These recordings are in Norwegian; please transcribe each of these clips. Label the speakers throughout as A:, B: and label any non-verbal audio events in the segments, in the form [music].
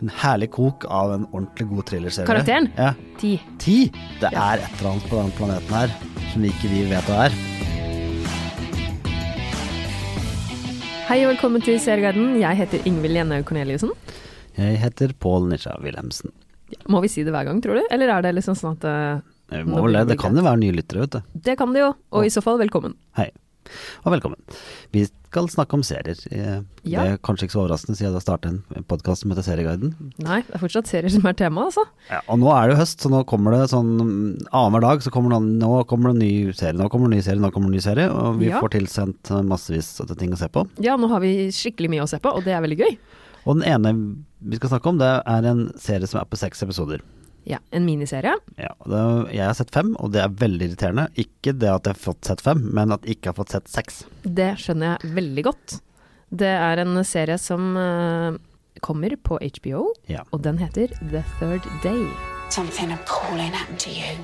A: en herlig kok av en ordentlig god thrillerserie.
B: Karakteren?
A: Ja.
B: Ti.
A: Ti! Det er et eller annet på den planeten her som ikke vi vet hva er.
B: Hei og velkommen til Serieguiden. Jeg heter Ingvild Jenhaug Corneliussen.
A: Jeg heter Pål Nisja Wilhelmsen.
B: Må vi si det hver gang, tror du? Eller er det liksom sånn at eh,
A: Vi
B: Nå
A: må vel det.
B: blir det
A: Det kan jo være nye lyttere, vet du.
B: Det kan det jo. Og i så fall, velkommen.
A: Hei, og velkommen. Vi skal snakke om serier. Eh,
B: Ja.
A: Det er kanskje ikke så overraskende siden jeg startet en podkast som heter Serieguiden.
B: Nei, det er fortsatt serier som er tema, altså.
A: Ja, og nå er det jo høst, så nå kommer det sånn mm, annenhver dag så kommer det, an- nå kommer det en ny serie, nå kommer det en ny serie, nå kommer det en ny serie. Og vi
B: Ja.
A: får tilsendt eh, massevis av ting å se på.
B: Ja, nå har vi skikkelig mye å se på, og det er veldig gøy.
A: Og den ene vi skal snakke om, det er en serie som er på seks episoder.
B: Ja, En miniserie.
A: Ja, og det, jeg har sett fem, og det er veldig irriterende. Ikke det at jeg har fått sett fem, men at jeg ikke har fått sett seks.
B: Det skjønner jeg veldig godt. Det er en serie som eh, kommer på HBO,
A: Ja.
B: og den heter The Third Day.
C: Something appalling happened to you.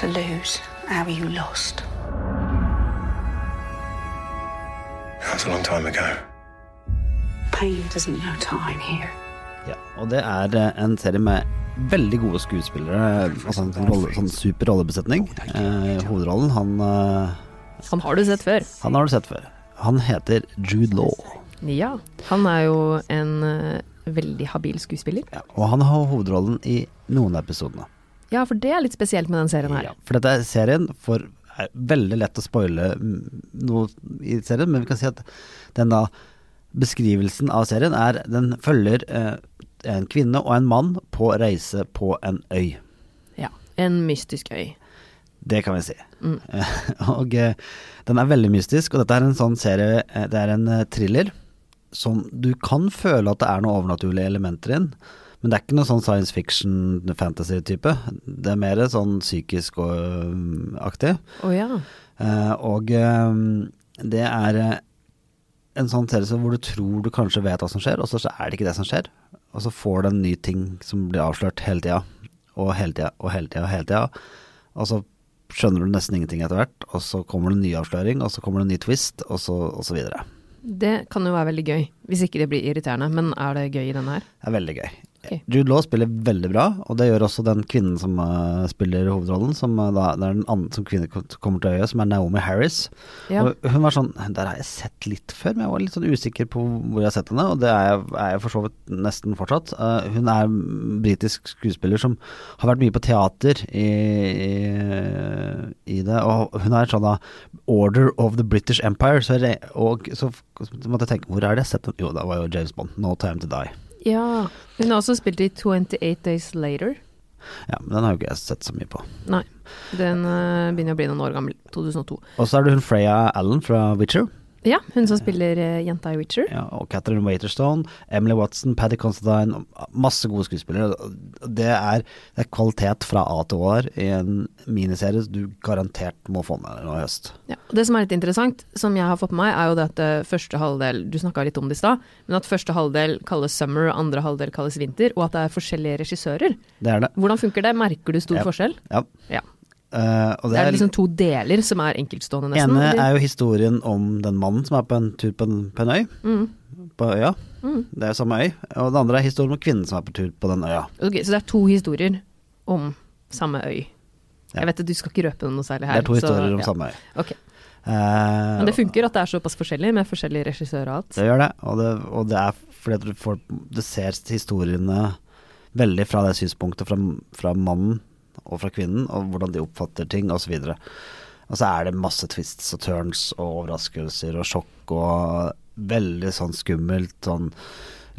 C: To lose how you lost.
D: That's a long time ago.
C: Pain doesn't know time here.
A: Ja, og det er eh, en serie med veldig gode skuespillere, altså en sånn, rolle, sånn super rollebesetning. Eh, hovedrollen, han, eh,
B: Han har du sett før.
A: han har du sett før. Han heter Jude Law.
B: Ja. Han er jo en eh, veldig habil skuespiller.
A: Ja, og han har hovedrollen i noen av episodene.
B: Ja, for det er litt spesielt med den serien her.
A: Ja, for dette er serien for er veldig lett å spoile mm, noe i serien, men vi kan si at den da beskrivelsen av serien er den følger eh, en kvinne og en mann på reise på en øy.
B: Ja. En mystisk øy.
A: Det kan vi si.
B: Mm.
A: [laughs] og eh, den er veldig mystisk, og dette er en sånn serie eh, Det er en eh, thriller som du kan føle at det er noen overnaturlige elementer inn, men det er ikke noe sånn science fiction, fantasy-type. Det er mer sånn psykisk og, øhm, aktig.
B: Å ja.
A: Eh, og øhm, det er eh, en sånn serie som hvor du tror du kanskje vet hva som skjer, og så så er det ikke det som skjer. Og så får du en ny ting som blir avslørt hele tida, og hele tida, og hele tida, og hele tida. Og så skjønner du nesten ingenting etter hvert, og så kommer det en ny avsløring, og så kommer det en ny twist, og så, og så videre.
B: Det kan jo være veldig gøy, hvis ikke det blir irriterende. Men er det gøy i denne her?
A: Det er veldig gøy.
B: Ok.
A: Jude Law spiller veldig bra, og det gjør også den kvinnen som eh, spiller hovedrollen, som, eh, da, det er den andre som kvinne kom- kommer til øyet, som er Naomi Harris.
B: Ja.
A: Og hun var sånn Der har jeg sett litt før, men jeg var litt sånn usikker på hvor jeg har sett henne, og det er jeg, er jeg for så vidt nesten fortsatt. Eh, hun er en britisk skuespiller som har vært mye på teater i, i, i det, og hun er sånn da Order of the British Empire, så, re, og, så f- måtte jeg tenke Hvor er det jeg har sett henne? Jo, det var jo James Bond, No Time To Die.
B: ja. Hun har også spilt i 28 Days Later.
A: Ja, men den har jo ikke jeg sett så mye på.
B: Nei, den eh, begynner å bli noen år gammel. 2002.
A: Og så er det hun Freya Allen fra Witcher.
B: Ja, hun som spiller eh, jenta i Witcher.
A: Ja, og Catherine Waiterstone, Emily Watson, Paddy Constantine. og Masse gode skuespillere. Og Det er, det er kvalitet fra A til Å her i en miniserie du garantert må få med deg nå i høst.
B: Ja. og Det som er litt interessant, som jeg har fått med meg, er jo det at eh, første halvdel Du snakka litt om det i stad, men at første halvdel kalles summer, og andre halvdel kalles vinter, og at det er forskjellige regissører.
A: Det er det.
B: Hvordan funker det? Merker du stor
A: Ja.
B: forskjell?
A: Ja.
B: Ja.
A: Eh, og
B: Det er liksom to deler som er enkeltstående, nesten.
A: ene
B: eller?
A: er jo historien om den mannen som er på en tur på en, på en øy.
B: Mm.
A: På øya. Det er jo samme øy. Og det andre er historien om kvinnen som er på tur på den øya.
B: Ok, Så det er to historier om samme øy.
A: Ja.
B: Jeg vet at du skal ikke røpe noe
A: Det
B: særlig her.
A: er to historier
B: så,
A: om
B: ja.
A: samme øy.
B: Ok.
A: Eh,
B: Men det funker at det er såpass forskjellig, med forskjellige regissører og alt.
A: Det gjør det, og det, og det er fordi at du, får, du ser historiene veldig fra det synspunktet fra, fra mannen og fra kvinnen, og hvordan de oppfatter ting osv. Og så er det masse twists og turns og overraskelser og sjokk og veldig sånn skummelt, sånn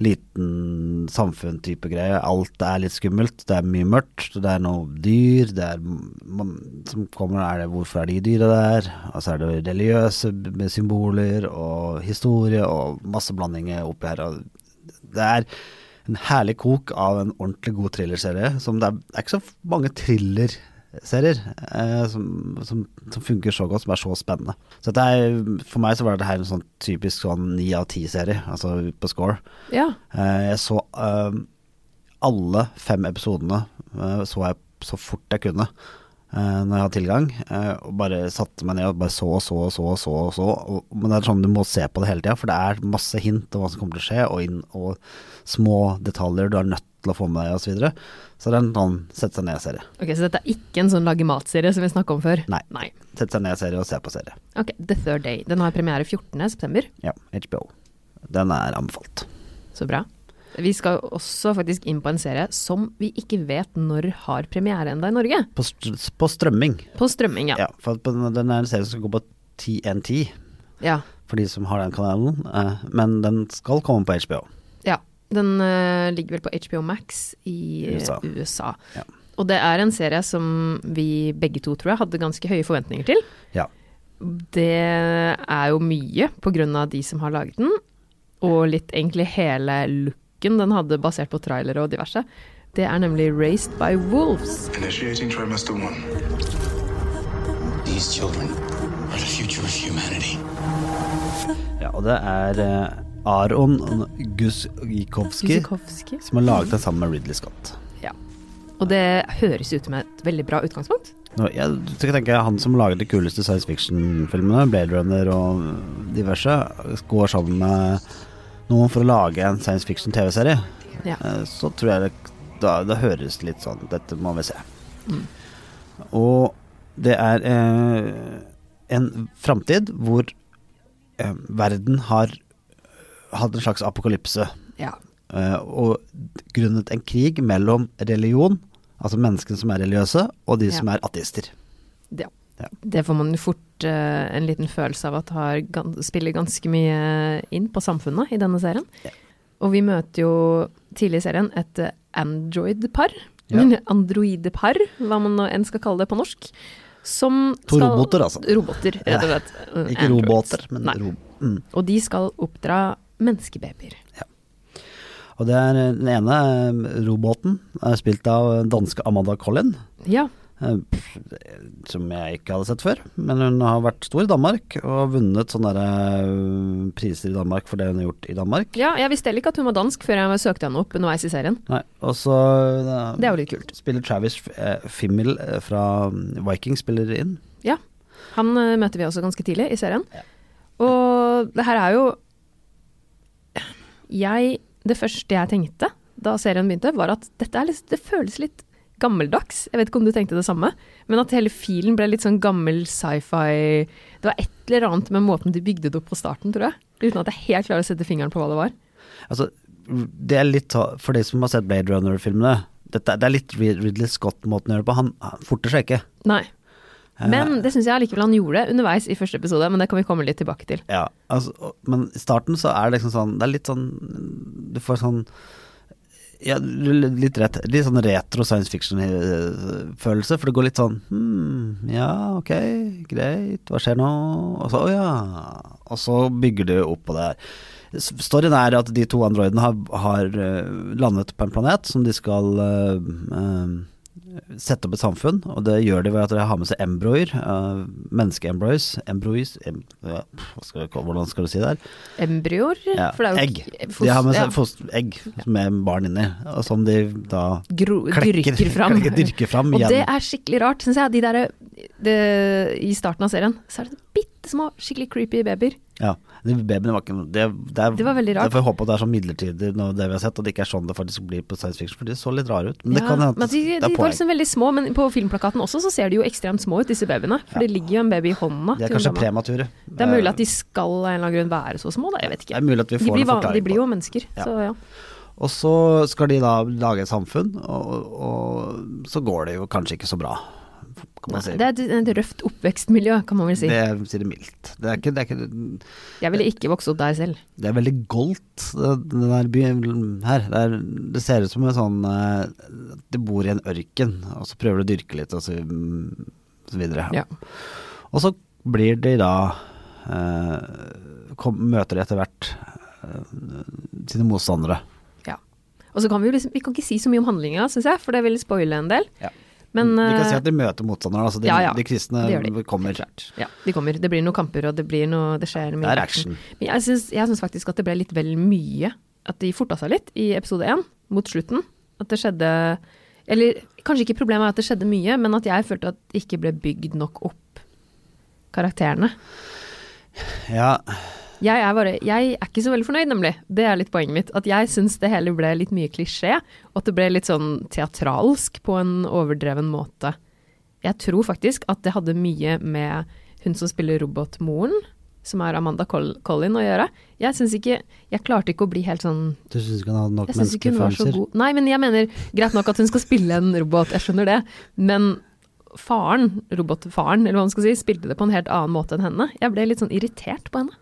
A: liten samfunn-type greie. Alt er litt skummelt, det er mye mørkt, det er noe dyr, det er man, som kommer, er det hvorfor er de dyra der? Og så er det religiøse b- b- symboler og historie og masse blandinger oppi her. Og det er en herlig kok av en ordentlig god thrillerserie. Som det er, det er ikke så f- mange thrillerserier eh, som, som, som funker så godt, som er så spennende. Så dette er, for meg så var det her en sånn typisk sånn ni av ti-serie, altså på score.
B: Ja.
A: Eh, Jeg så eh, alle fem episodene eh, så jeg så fort jeg kunne. eh, når jeg hadde tilgang, eh, og bare satte meg ned og bare så og så og så og så. Og så og, men det er sånn du må se på det hele tida, for det er masse hint om hva som kommer til å skje, og, inn, og små detaljer du er nødt til å få med deg, osv. Så, videre. så det er en sånn sette seg ned-serie.
B: Ok, Så dette er ikke en sånn lage mat-serie som vi snakka om før?
A: Nei. Sette seg ned-serie og se på serie.
B: Ok, The Third Day. Den har premiere 14.9.
A: Ja, HBO. Den er anbefalt.
B: Så bra. Vi skal jo også faktisk inn på en serie som vi ikke vet når har premiere enda i Norge.
A: På, str på strømming.
B: På strømming, ja.
A: Ja, for at på den, den er en serie som skal gå på TNT,
B: Ja.
A: for de som har den kanalen. eh, men den skal komme på HBO.
B: ja. Den eh, ligger vel på HBO Max i eh,
A: USA.
B: USA.
A: Ja.
B: Og det er en serie som vi begge to, tror jeg, hadde ganske høye forventninger til.
A: Ja.
B: Det er jo mye på grunn av de som har laget den, og litt egentlig hele looken den hadde basert på trailere og diverse. Det er nemlig Raised by Wolves.
D: Initiating trimester one.
E: These children are the future of humanity.
A: ja og det er eh, Aron Guzikowski
B: Kusikowski.
A: som har laget den sammen med Ridley Scott.
B: Ja. Og det høres ut som et veldig bra utgangspunkt.
A: Nå, jeg tenker tenke Han som lager de kuleste science fiction-filmene, Blade Runner og diverse, går sammen med noen for å lage en science fiction-TV-serie.
B: Ja.
A: Eh, Så tror jeg det, da, det høres litt sånn Dette må vi se.
B: Mm.
A: Og det er eh, en framtid hvor eh, verden har hatt en slags apokalypse.
B: Ja.
A: Eh, og grunnet en krig mellom religion, altså menneskene som er religiøse, og de
B: Ja.
A: som er ateister.
B: Det,
A: Ja.
B: det får man jo fort eh, en liten følelse av at har, gan- spiller ganske mye inn på samfunnet i denne serien.
A: Ja.
B: Og vi møter jo tidlig i serien et eh, android-par.
A: Ja.
B: eller Androide-par, hva man nå enn skal kalle det på norsk. Som
A: To
B: skal-
A: roboter, altså.
B: Roboter, rett og slett.
A: [laughs] Ikke
B: Mm. Androids.
A: robåter, men
B: Nei.
A: ro... Mm.
B: Og de skal oppdra menneskebabyer.
A: Og det er eh, den ene eh, robåten, er spilt av eh, danske Amanda Collin.
B: Ja.
A: eh, Som jeg ikke hadde sett før, men hun har vært stor i Danmark og har vunnet sånne der, eh, priser i Danmark for det hun har gjort i Danmark.
B: ja, jeg visste heller ikke at hun var dansk før jeg søkte henne opp underveis i serien.
A: Nei, og så eh,
B: Det er jo litt kult.
A: spiller Travis eh, Fimmel eh, fra Vikings spiller inn.
B: Ja. Han eh, møter vi også ganske tidlig i serien. Og det her er jo Jeg Det første jeg tenkte da serien begynte, var at dette er litt, det føles litt gammeldags. Jeg vet ikke om du tenkte det samme, men at hele filen ble litt sånn gammel sci-fi Det var et eller annet med måten de bygde det opp på starten, tror jeg. Uten at jeg helt klarer å sette fingeren på hva det var.
A: Altså, det er litt ta- For de som har sett Blade Runner-filmene, dette, det er litt Rid- Ridley Scott-måten å gjøre det på. Han, han forter seg ikke.
B: Nei.
A: Eh.
B: Men det syns jeg allikevel han gjorde underveis i første episode, men det kan vi komme litt tilbake til.
A: Ja, altså, og- men i starten så er det liksom sånn Det er litt sånn Du får sånn ja, litt, rett, litt sånn retro science fiction-følelse, for det går litt sånn hmm, Ja, ok, greit, hva skjer nå? Og så, å ja. Og så bygger du opp på det her. S- Storyen er at de to androidene har, har eh, landet på en planet som de skal eh, eh, sette opp et samfunn, og det gjør de ved at de har med seg embroer. Uh, Menneskeembroys. Embroys em, ja, pff, hva skal, jeg- Hvordan skal du si det her?
B: Embryoer?
A: Ja,
B: for det er jo
A: egg.
B: ikke-
A: de har med
B: ja.
A: seg foster- egg med barn inni, og som de da
B: gro,
A: [laughs] klekker,
B: dyrker fram.
A: klekker, dyrker fram
B: og
A: igjen.
B: det er skikkelig rart, syns jeg. De der, det, I starten av serien så er det bitte små, skikkelig creepy babyer.
A: Ja, de babyene var ikke noe det, det, er,
B: Det var veldig rart.
A: Jeg får håpe at det er sånn midlertidig nå, det vi har sett, og det ikke er sånn det faktisk blir på science fiction, for de så litt rare ut. Men det kan hende
B: men
A: at
B: de,
A: det er
B: de var
A: poeng.
B: liksom veldig små, men på filmplakaten også så ser de jo ekstremt små ut, disse babyene. For det ligger jo en baby i hånda.
A: De er
B: til hun
A: kanskje
B: dama.
A: premature.
B: det er mulig at de skal av en eller annen grunn være så små, da. Jeg vet
A: Det
B: ikke.
A: er mulig at vi
B: De
A: får
B: blir,
A: en
B: van-
A: forklaring
B: de blir
A: på
B: jo mennesker,
A: Ja.
B: så ja.
A: Eh, Og så skal de da lage et samfunn, og, og så går det jo kanskje ikke så bra, kan man si.
B: Det er et, et røft oppvekstmiljø, kan man vel si.
A: Det sier det mildt. Det er ikke, det er ikke
B: Jeg ville ikke vokse opp der selv.
A: Det er veldig goldt, det- den der byen her. Det, er, det ser ut som en sånn eh, De bor i en ørken, og så prøver de å dyrke litt, og så, mm, så videre.
B: Ja.
A: Og så blir de da eh, kom, Møter de etter hvert eh, sine motstandere.
B: Ja. Og så kan vi jo liksom Vi kan ikke si så mye om handlinga, syns jeg, for det vil spoile en del. Men
A: vi kan
B: eh,
A: si at de møter motstanderne, altså de,
B: ja, ja.
A: de kristne
B: Det gjør de.
A: kommer.
B: Ja, de kommer. Det blir noen kamper, og det blir noe Det skjer mye.
A: Det er action.
B: Men jeg syns, jeg syns faktisk at det ble litt vel mye. At de forta seg litt i episode én, mot slutten. At det skjedde Eller Kanskje ikke problemet er at det skjedde mye, men at jeg følte at det ikke ble bygd nok opp karakterene.
A: Ja,
B: Jeg er, bare, jeg er ikke så veldig fornøyd, nemlig. Det er litt poenget mitt. At jeg syns det hele ble litt mye klisjé, og at det ble litt sånn teatralsk på en overdreven måte. Jeg tror faktisk at det hadde mye med hun som spiller robotmoren, som er Amanda Col Collin, å gjøre. Jeg syns ikke Jeg klarte ikke å bli helt sånn
A: du syns ikke han hadde nok
B: jeg syns ikke hun var så
A: menneskefølelser?
B: god. Nei, men jeg mener greit nok at hun skal spille en robot, jeg skjønner det. Men faren, robotfaren, eller hva man skal si, spilte det på en helt annen måte enn henne. Jeg ble litt sånn irritert på henne.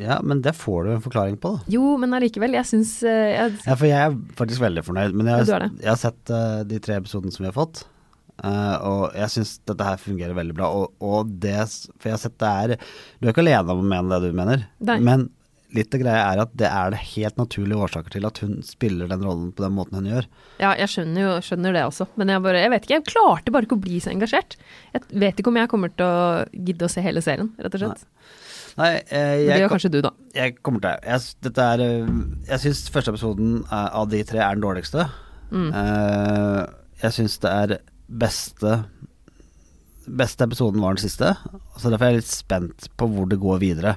A: Ja, men det får du en forklaring på, da.
B: Jo, men allikevel, jeg syns eh, jeg-
A: Ja, for jeg er faktisk veldig fornøyd. Men jeg,
B: Ja, du er det.
A: jeg har sett eh, de tre episodene som vi har fått, eh, og jeg syns dette her fungerer veldig bra. Og, og det s- For jeg har sett det er Du er ikke alene om å mene det du mener,
B: Nei.
A: men litt av greia er at det er det helt naturlige årsaker til at hun spiller den rollen på den måten hun gjør.
B: Ja, jeg skjønner jo skjønner det også, men jeg bare Jeg vet ikke, jeg klarte bare ikke å bli så engasjert. Jeg vet ikke om jeg kommer til å gidde å se hele serien, rett og slett.
A: Nei, eh,
B: Men det
A: jeg,
B: gjør kanskje du, da.
A: jeg kommer til Jeg, s- dette er, eh, jeg syns første episoden eh, av de tre er den dårligste. Eh, jeg syns det er beste Beste episoden var den siste, så derfor er jeg litt spent på hvor det går videre.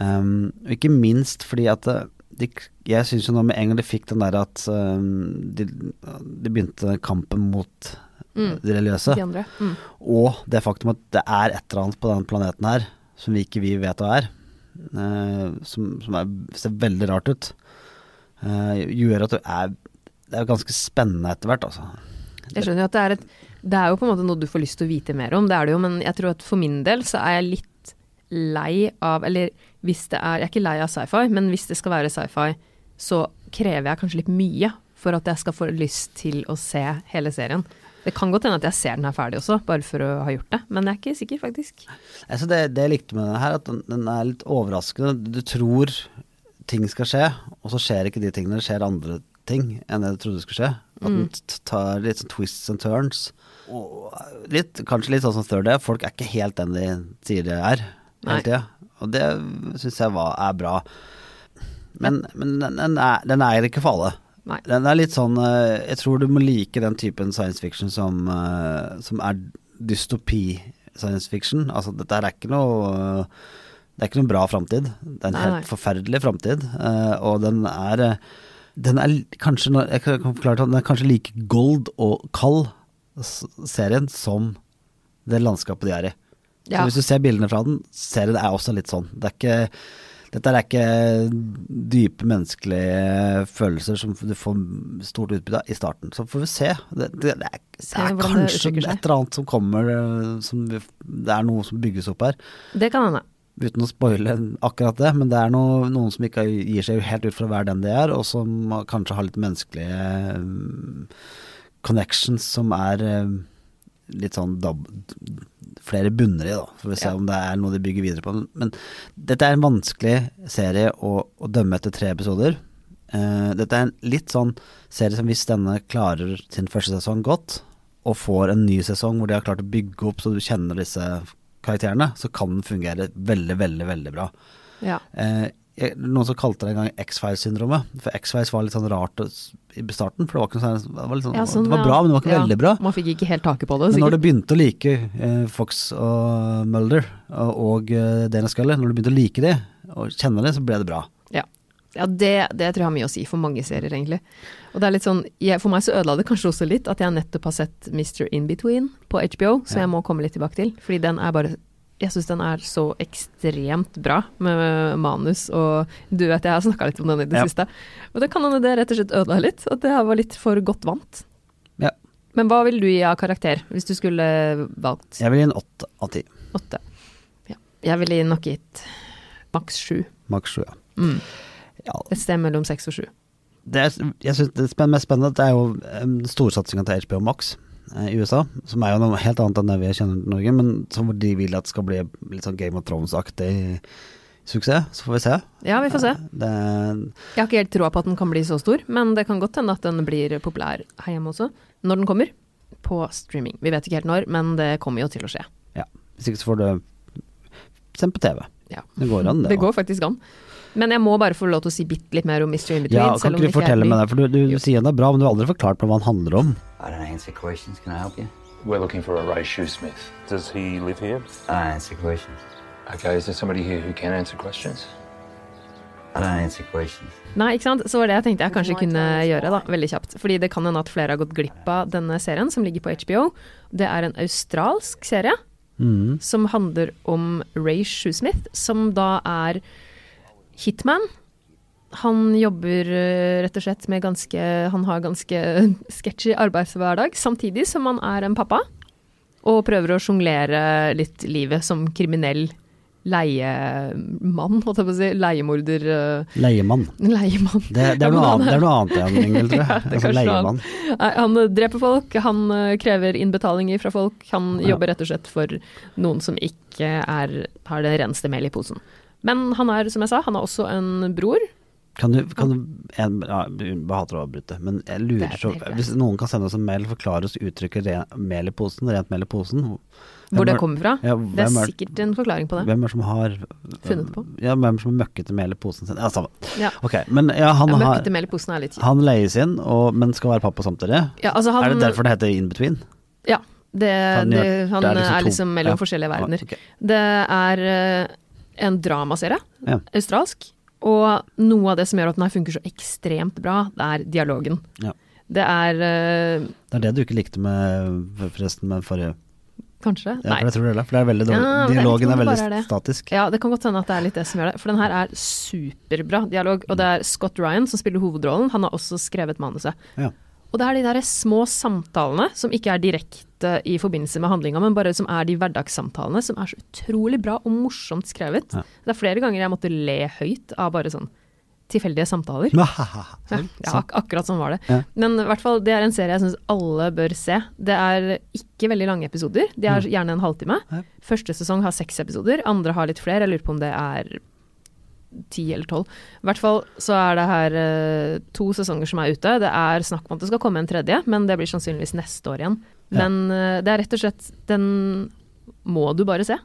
A: Um, og ikke minst fordi at eh, de, jeg syns jo nå med en gang de fikk den der at um, de, de begynte kampen mot eh, de religiøse,
B: De andre. Mm.
A: og det faktum at det er et eller annet på denne planeten her som vi ikke vi vet hva er, eh, som, som er, ser veldig rart ut, eh, gjør at det er, det er ganske spennende etter hvert, altså.
B: Jeg skjønner jo at det er et Det er jo på en måte noe du får lyst til å vite mer om, det er det jo, men jeg tror at for min del så er jeg litt lei av Eller hvis det er Jeg er ikke lei av sci-fi, men hvis det skal være sci-fi, så krever jeg kanskje litt mye for at jeg skal få lyst til å se hele serien. Det kan godt hende at jeg ser den her ferdig også, bare for å ha gjort det, men jeg er ikke sikker, faktisk.
A: Altså det, det jeg likte med den her, at den, den er litt overraskende. Du tror ting skal skje, og så skjer ikke de tingene. Det skjer andre ting enn det du trodde skulle skje. At den t- tar litt sånn twists and turns. Og litt, kanskje litt sånn som Third Day. Folk er ikke helt den de sier de er
B: Nei.
A: hele tida. Og det syns jeg var, er bra. Men, men den, den, er, den er ikke for alle.
B: Nei.
A: Den er litt sånn eh, Jeg tror du må like den typen science fiction som, eh, som er dystopi-science fiction. Altså, dette her er ikke noe eh, Det er ikke noen bra framtid. Det er en
B: Nei, nei.
A: helt forferdelig framtid, eh, og den er eh, den er l- kanskje, nå- jeg kan kan forklare det sånn, den er kanskje like gold og kald, s- serien, som det landskapet de er i.
B: Ja.
A: Så hvis du ser bildene fra den, serien er også litt sånn. Det er ikke, dette er ikke dype menneskelige følelser som du får stort utbytte av i starten. Så får vi se. Det, det, det er, det
B: hvordan
A: er
B: det
A: kanskje
B: utvikler
A: et
B: seg.
A: eller annet som kommer, eh, som vi, det er noe som bygges opp her.
B: Det kan hende.
A: Uten å spoile akkurat det, men det er noe, noen som ikke gir seg helt ut for å være den de er, og som kanskje har litt menneskelige eh, connections som er eh, litt sånn dab, flere bunner i, da. For å se
B: Ja.
A: om det er noe de bygger videre på. Men dette er en vanskelig serie å, å dømme etter tre episoder. Eh, dette er en litt sånn serie som hvis denne klarer sin første sesong godt, og får en ny sesong hvor de har klart å bygge opp så du kjenner disse karakterene, så kan den fungere veldig, veldig, veldig bra.
B: Ja.
A: Eh, jeg- noen som kalte det en gang X-Files-syndromet. For X-Files var litt sånn rart å s- i starten. For det var ikke noe sånn, det var, litt sånn,
B: Ja, sånn,
A: det var
B: ja.
A: bra, men det var ikke
B: Ja.
A: veldig bra.
B: Man fikk ikke helt taket på det,
A: Men når du
B: sikkert.
A: begynte å like eh, Fox og Mulder og, og eh, Dana Scully, når du begynte å like de og kjenne det, så ble det bra.
B: Ja, ja det, det tror jeg har mye å si for mange serier, egentlig. Og det er litt sånn, jeg, For meg så ødela det kanskje også litt at jeg nettopp har sett Mr. In-Between på HBO, som jeg må komme litt tilbake til. Fordi den er bare Jeg syns den er så ekstremt bra med manus, og du vet jeg har snakka litt om den i det
A: Ja.
B: siste. Og det kan hende det rett og slett ødela litt, at det her var litt for godt vant.
A: Ja.
B: Men hva vil du gi av karakter, hvis du skulle valgt
A: Jeg vil gi en åtte av ti.
B: åtte? Ja. Jeg ville nok gitt maks sju.
A: Maks sju, ja.
B: Mm.
A: ja.
B: Et sted mellom seks og sju.
A: Det, er, jeg synes det spen- mest spennende det er jo um, storsatsinga til HBO Max eh, i USA, som er jo noe helt annet enn det vi kjenner i Norge, men som hvor de vil at skal bli litt sånn Game of Thrones-aktig suksess. Så får vi se. Eh,
B: Ja, vi får se.
A: Det,
B: Jeg har ikke helt troa på at den kan bli så stor, men det kan godt hende at den blir populær her hjemme også, når den kommer. På streaming. Vi vet ikke helt når, men det kommer jo til å skje.
A: ja. Hvis ikke så får du se den på TV.
B: Ja.
A: Det går an, det.
B: Det
A: også.
B: går faktisk an. Men jeg må bare få lov til å si bitte litt mer om Mystery in between.
A: Ja, kan ikke du fortelle meg det, for du, du sier den er bra, men du har aldri forklart meg hva den handler om.
E: I don't know. answer questions. Can I help you?
D: We're looking for a Ray Shoesmith.
F: Does he live here?
E: I answer questions.
D: Okay, is there somebody here who can answer questions?
E: I don't answer questions.
B: Nei, ikke sant? Så var det jeg tenkte jeg kanskje kunne gjøre, da, veldig kjapt. Fordi det kan hende at flere har gått glipp av denne serien, som ligger på HBO. Det er en australsk serie som handler om Ray Shoesmith, som da er hitman. Han jobber eh, rett og slett med ganske Han har ganske [laughs] sketchy arbeidshverdag, samtidig som han er en pappa. Og prøver å sjonglere litt livet som kriminell leiemann, holdt jeg på å si. Leiemorder. eh,
A: Leiemann.
B: Leiemann.
A: Det, det, er, noe
B: [laughs] Ja, men
A: annet, det
B: han
A: er noe annet enn Ingvild, tror
B: [laughs] Ja,
A: jeg. altså,
B: det er kanskje noe
A: leiemann.
B: annet. Nei, Han eh, dreper folk, han eh, krever innbetalinger fra folk. Han
A: Ja.
B: jobber rett og slett for noen som ikke er, har det reneste melet i posen. Men han er, som jeg sa, han har også en bror.
A: Kan du, kan du en, ja, jeg hater å avbryte, men jeg
B: Det
A: lurer
B: er
A: så
B: helt greit.
A: Hvis noen kan sende oss en mail og forklare oss uttrykket re, 'mel i posen', rent mel i posen hvem
B: Hvor det
A: er-
B: kommer fra.
A: Ja,
B: det
A: hvem
B: er
A: er-
B: sikkert en forklaring på det.
A: Hvem er det som har
B: Funnet på.
A: Ja, hvem er det som har møkket mel i posen sin? Ja, samme.
B: Ja.
A: Ok, men ja, han, har,
B: Møkkete mel i posen er litt kjipt.
A: han leies inn, og, men skal være pappa samtidig.
B: Ja, altså han,
A: er det derfor det heter In Between?
B: Ja. Det,
A: Han
B: han
A: gjør-
B: det, han
A: det er
B: er,
A: liksom
B: liksom
A: to-
B: mellom
A: ja.
B: forskjellige verdener.
A: Ok.
B: Det er eh, en dramaserie,
A: Ja.
B: australsk. Og noe av det som gjør at den her funker så ekstremt bra, det er dialogen.
A: Ja.
B: Det er eh,
A: Det er det du ikke likte med forresten med forrige
B: Kanskje?
A: Ja, for
B: Nei.
A: jeg tror det er det, for det er veldig dårlig.
B: Ja, men jeg vet ikke
A: Dialogen
B: om
A: er
B: det
A: veldig
B: bare er det.
A: statisk.
B: Ja, det kan godt hende at det er litt det som gjør det. For den her er superbra dialog. Og det er Scott Ryan som spiller hovedrollen. Han har også skrevet manuset.
A: Ja.
B: Og det er de der små samtalene som ikke er direkte i forbindelse med handlinga, men bare som er de hverdagssamtalene som er så utrolig bra og morsomt skrevet.
A: Ja.
B: Det er flere ganger jeg måtte le høyt av bare sånn tilfeldige
A: [laughs]
B: samtaler. Ja, ja, ak akkurat sånn var det.
A: Ja.
B: Men i hvert fall, det er en serie jeg syns alle bør se. Det er ikke veldig lange episoder. De er gjerne en halvtime.
A: Mm. Ja.
B: Første sesong har seks episoder, andre har litt flere. Jeg lurer på om det er ti eller tolv. I hvert fall så er det her eh, to sesonger som er ute. Det er snakk om at det skal komme en tredje, men det blir sannsynligvis neste år igjen.
A: Ja.
B: Men eh, det er rett og slett Den må du bare se.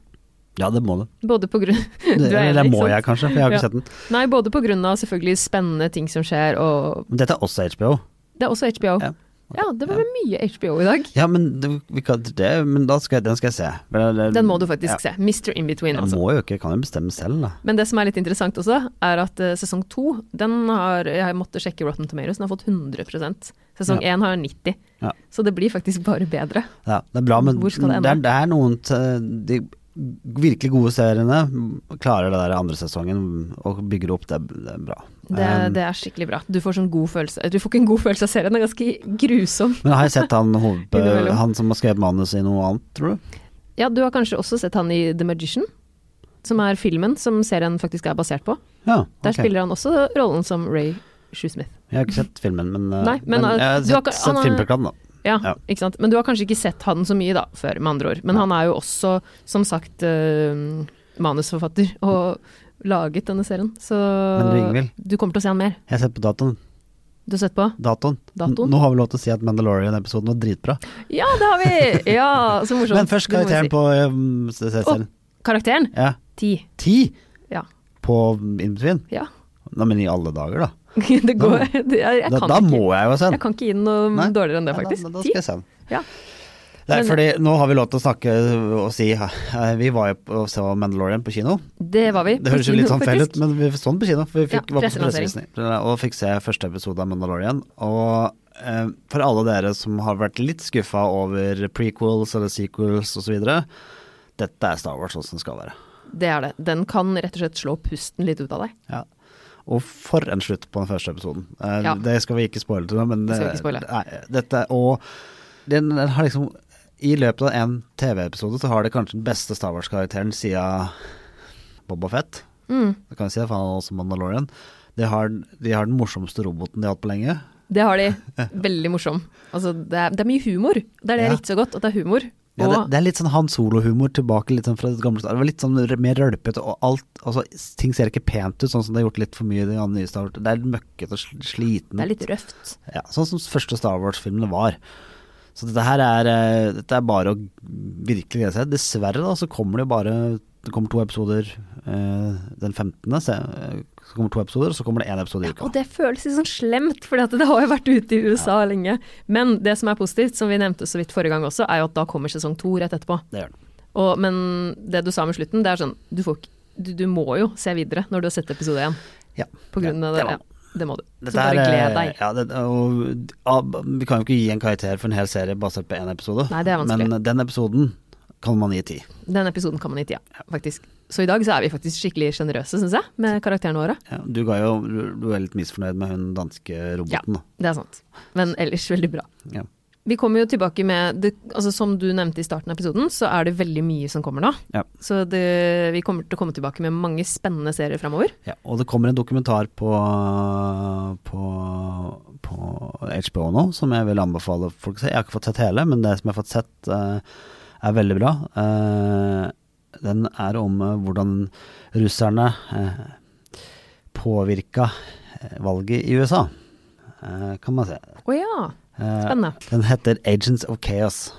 A: Ja, det må du.
B: Både på grunn
A: Det,
B: [laughs] Du er
A: eller det
B: enig,
A: må
B: ikke
A: jeg
B: sant?
A: kanskje, for jeg har ikke
B: Ja.
A: sett den.
B: Nei, både på grunn av selvfølgelig spennende ting som skjer, og
A: Men dette er også HBO.
B: Det er også HBO.
A: Ja.
B: Ja, det var mye HBO i dag.
A: Ja, men, det, vi kan, det, men da skal jeg, den skal jeg se. Men det-
B: Den må du faktisk
A: ja.
B: se. Mr. In-Between,
A: Jeg
B: altså.
A: må jo ikke, kan jo bestemme selv, da.
B: Men det som er litt interessant også, er at eh, sesong to, den har Jeg måtte sjekke Rotten Tomatoes, den har fått 100 Sesong
A: Ja.
B: én har 90
A: Ja.
B: Så det blir faktisk bare bedre.
A: Ja, det er bra, men
B: Hvor skal det
A: det, er,
B: ende?
A: det er noen t- De virkelig gode seriene klarer det der andre sesongen og bygger opp. Det er, det er bra.
B: Det,
A: Um,
B: det er skikkelig bra. Du får sånn god følelse Du får ikke en god følelse av serien, den er ganske grusom.
A: Men har jeg sett
B: [laughs]
A: han, hoved,
B: Innimellom.
A: han som har skrevet manus i noe annet, tror du?
B: Ja, du har kanskje også sett han i The Magician? Som er filmen som serien faktisk er basert på.
A: Ja,
B: Der
A: ok.
B: spiller han også rollen som Ray Shoesmith.
A: Jeg har ikke sett filmen, men, uh,
B: Nei, men, uh,
A: jeg har
B: du har
A: sett,
B: ikke- han
A: sett
B: har-
A: filmplakaten, da.
B: Ja,
A: Ja.
B: ikke sant. Men du har kanskje ikke sett han så mye da, før, med andre ord. Men han er jo også, som sagt, eh, manusforfatter [laughs] og laget denne serien. Så
A: Men du, Ingvild?
B: du kommer til å se han mer.
A: Jeg har sett på datoen.
B: Du har sett på?
A: datoen.
B: Datoen?
A: N- Nå har vi lov til å si at Mandalorian-episoden var dritbra.
B: Ja, det har vi! Ja, så morsomt.
A: Men først
B: Det må vi
A: karakteren
B: si.
A: på um, se- se- serien.
B: Karakteren?
A: Ja.
B: Ti.
A: Ti
B: Ja.
A: på Inbetween?
B: ja. [laughs]
A: Nei, men i alle dager, da.
B: Det går Jeg, jeg
A: Da,
B: kan
A: da
B: ikke
A: må jeg jo se
B: Jeg
A: den.
B: kan ikke gi den noe
A: Nei.
B: dårligere enn det,
A: Ja, da-
B: faktisk.
A: men da
B: Ti?
A: skal jeg se den.
B: Ja.
A: Nei,
B: Men-
A: fordi nå har vi lov til å snakke og si eh, Vi var jo på- og så Mandalorian på kino.
B: Det var vi.
A: Det høres jo litt sånn feil ut, men vi så den på kino. For vi
B: Ja,
A: fikk, var på
B: presselansering.
A: pressevisning og fikk se første episode av Mandalorian. Og eh, for alle dere som har vært litt skuffa over prequels eller sequels osv. Dette er Star Wars sånn som det skal være.
B: Det er det. Den kan rett og slett slå pusten litt ut av deg.
A: Ja. Og for en slutt på den første episoden. Eh,
B: Ja.
A: Det skal vi ikke spoile til nå, men eh,
B: Det skal vi ikke spoile.
A: Nei, dette, og den, den har liksom I løpet av en TV-episode så har det kanskje den beste Star Wars-karakteren siden Boba Fett.
B: Mm.
A: Det kan vi si, for han er også Mandalorian. De har, de har den morsomste roboten de har hatt på lenge.
B: Det har de. Veldig morsom. Altså, det, er, det er mye humor. Det er det jeg
A: Ja.
B: likte så godt, at det er humor. Og
A: Ja, det, det er litt sånn Han Solo-humor tilbake litt sånn fra det gamle Star- Det var litt sånn r- mer rølpete og alt altså, Ting ser ikke pent ut, sånn som det er gjort litt for mye i de andre nye Star Wars. Det er møkkete og sl- slitent.
B: det er litt røft.
A: Ja, sånn som første Star Wars-filmene var. Så dette her er, eh, dette er bare å virkelig glede seg. Dessverre da, så kommer det jo bare Det kommer to episoder eh, den 15. Se, eh, så kommer to episoder, og så kommer det én episode i uka.
B: Og det føles litt sånn slemt, for det har jo vært ute i USA lenge. Men det som er positivt, som vi nevnte så vidt forrige gang også, er jo at da kommer sesong to rett etterpå.
A: Det gjør den.
B: Og, men det du sa med slutten, det er sånn du, får, ikke- du, du må jo se videre når du har sett episode én.
A: Ja.
B: På grunn
A: Ja,
B: av
A: det
B: det.
A: må-
B: Ja, det må du. Så
A: Dette er,
B: bare
A: eh,
B: gled deg.
A: Ja, det, og, ja, vi kan jo ikke gi en karakter for en hel serie basert på én episode,
B: Nei, det er vanskelig.
A: men den episoden kan man gi ti.
B: Den episoden kan man i tida, faktisk. Så i dag så er vi faktisk skikkelig sjenerøse, syns jeg, med karakterene våre.
A: Ja, du, ga jo, du, du er litt misfornøyd med hun danske
B: Ja,
A: roboten. da.
B: det er sant. Men ellers veldig bra.
A: Ja.
B: Vi kommer jo tilbake med det, altså Som du nevnte i starten av episoden, så er det veldig mye som kommer nå.
A: Ja.
B: Så det, vi kommer til å komme tilbake med mange spennende serier framover.
A: Ja, og det kommer en dokumentar på, på, på HBO nå, som jeg vil anbefale folk å se. Jeg har ikke fått sett hele, men det som jeg har fått sett, eh, er veldig bra. Eh, den er om eh, hvordan russerne uh, påvirka eh, valget i USA, eh, kan man se.
B: Å ja.
A: Eh,
B: Spennende.
A: Den heter Agents of Chaos,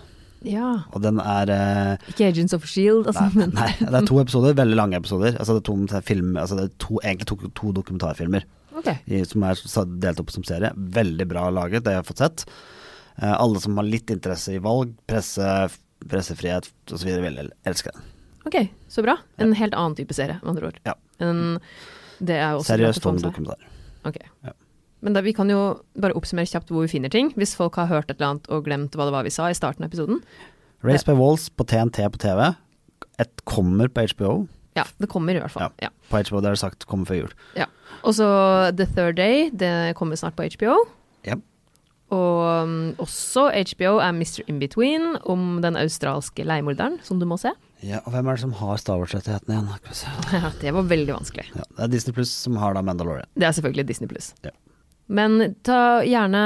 B: ja.
A: og den er eh,
B: Ikke Agents of Shield, altså.
A: Nei,
B: men-
A: nei, det er to episoder, veldig lange episoder. Altså det er to, omtrent film, altså det er to, egentlig to, to dokumentarfilmer
B: Ok.
A: i- som er sa- delt opp som serie. Veldig bra laget, det jeg har fått sett. Eh, alle som har litt interesse i valg, presse, pressefrihet osv., vil el- elske den.
B: Ok, så bra. En helt annen type serie, med andre ord.
A: Ja.
B: En, det er jo også bra
A: Seriøs
B: å få
A: tung
B: med seg.
A: dokumentar.
B: Ok.
A: Ja.
B: Men da, vi kan jo bare oppsummere kjapt hvor vi finner ting, hvis folk har hørt et eller annet og glemt hva det var vi sa i starten av episoden.
A: Race by Walls på TNT på TV. Et kommer på HBO.
B: Ja, det kommer i hvert fall. Ja.
A: På HBO det er det sagt kommer før jul.
B: ja. Og så The Third Day, det kommer snart på HBO.
A: Ja.
B: Og um, også HBO er Mr. In-Between om den australske leiemorderen, som du må se. [laughs]
A: ja. Og hvem er det som har Star Wars-rettighetene igjen? Skal vi se.
B: det var veldig vanskelig.
A: Ja, det er Disney Pluss som har da Mandalorian.
B: Det er selvfølgelig Disney pluss.
A: Ja.
B: Men ta gjerne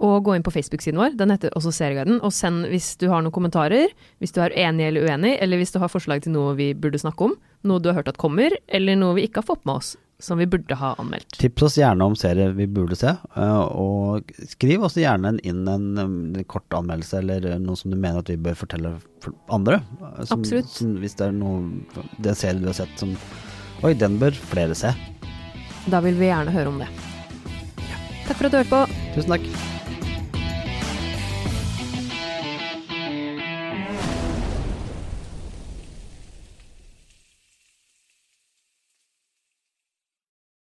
B: og gå inn på Facebook-siden vår, den heter også Serieguiden, og send hvis du har noen kommentarer, hvis du er enig eller uenig, eller hvis du har forslag til noe vi burde snakke om, noe du har hørt at kommer, eller noe vi ikke har fått med oss, som vi burde ha anmeldt.
A: Tips oss gjerne om serier vi burde se, eh, og skriv også gjerne en- inn en, em, kort anmeldelse eller eh, noe som du mener at vi bør fortelle for andre. eh, Som,
B: Absolutt.
A: Som, hvis det er noe det er serier du har sett som Oi, den bør flere se.
B: Da vil vi gjerne høre om det. Takk for at du hørte på.
A: Tusen takk.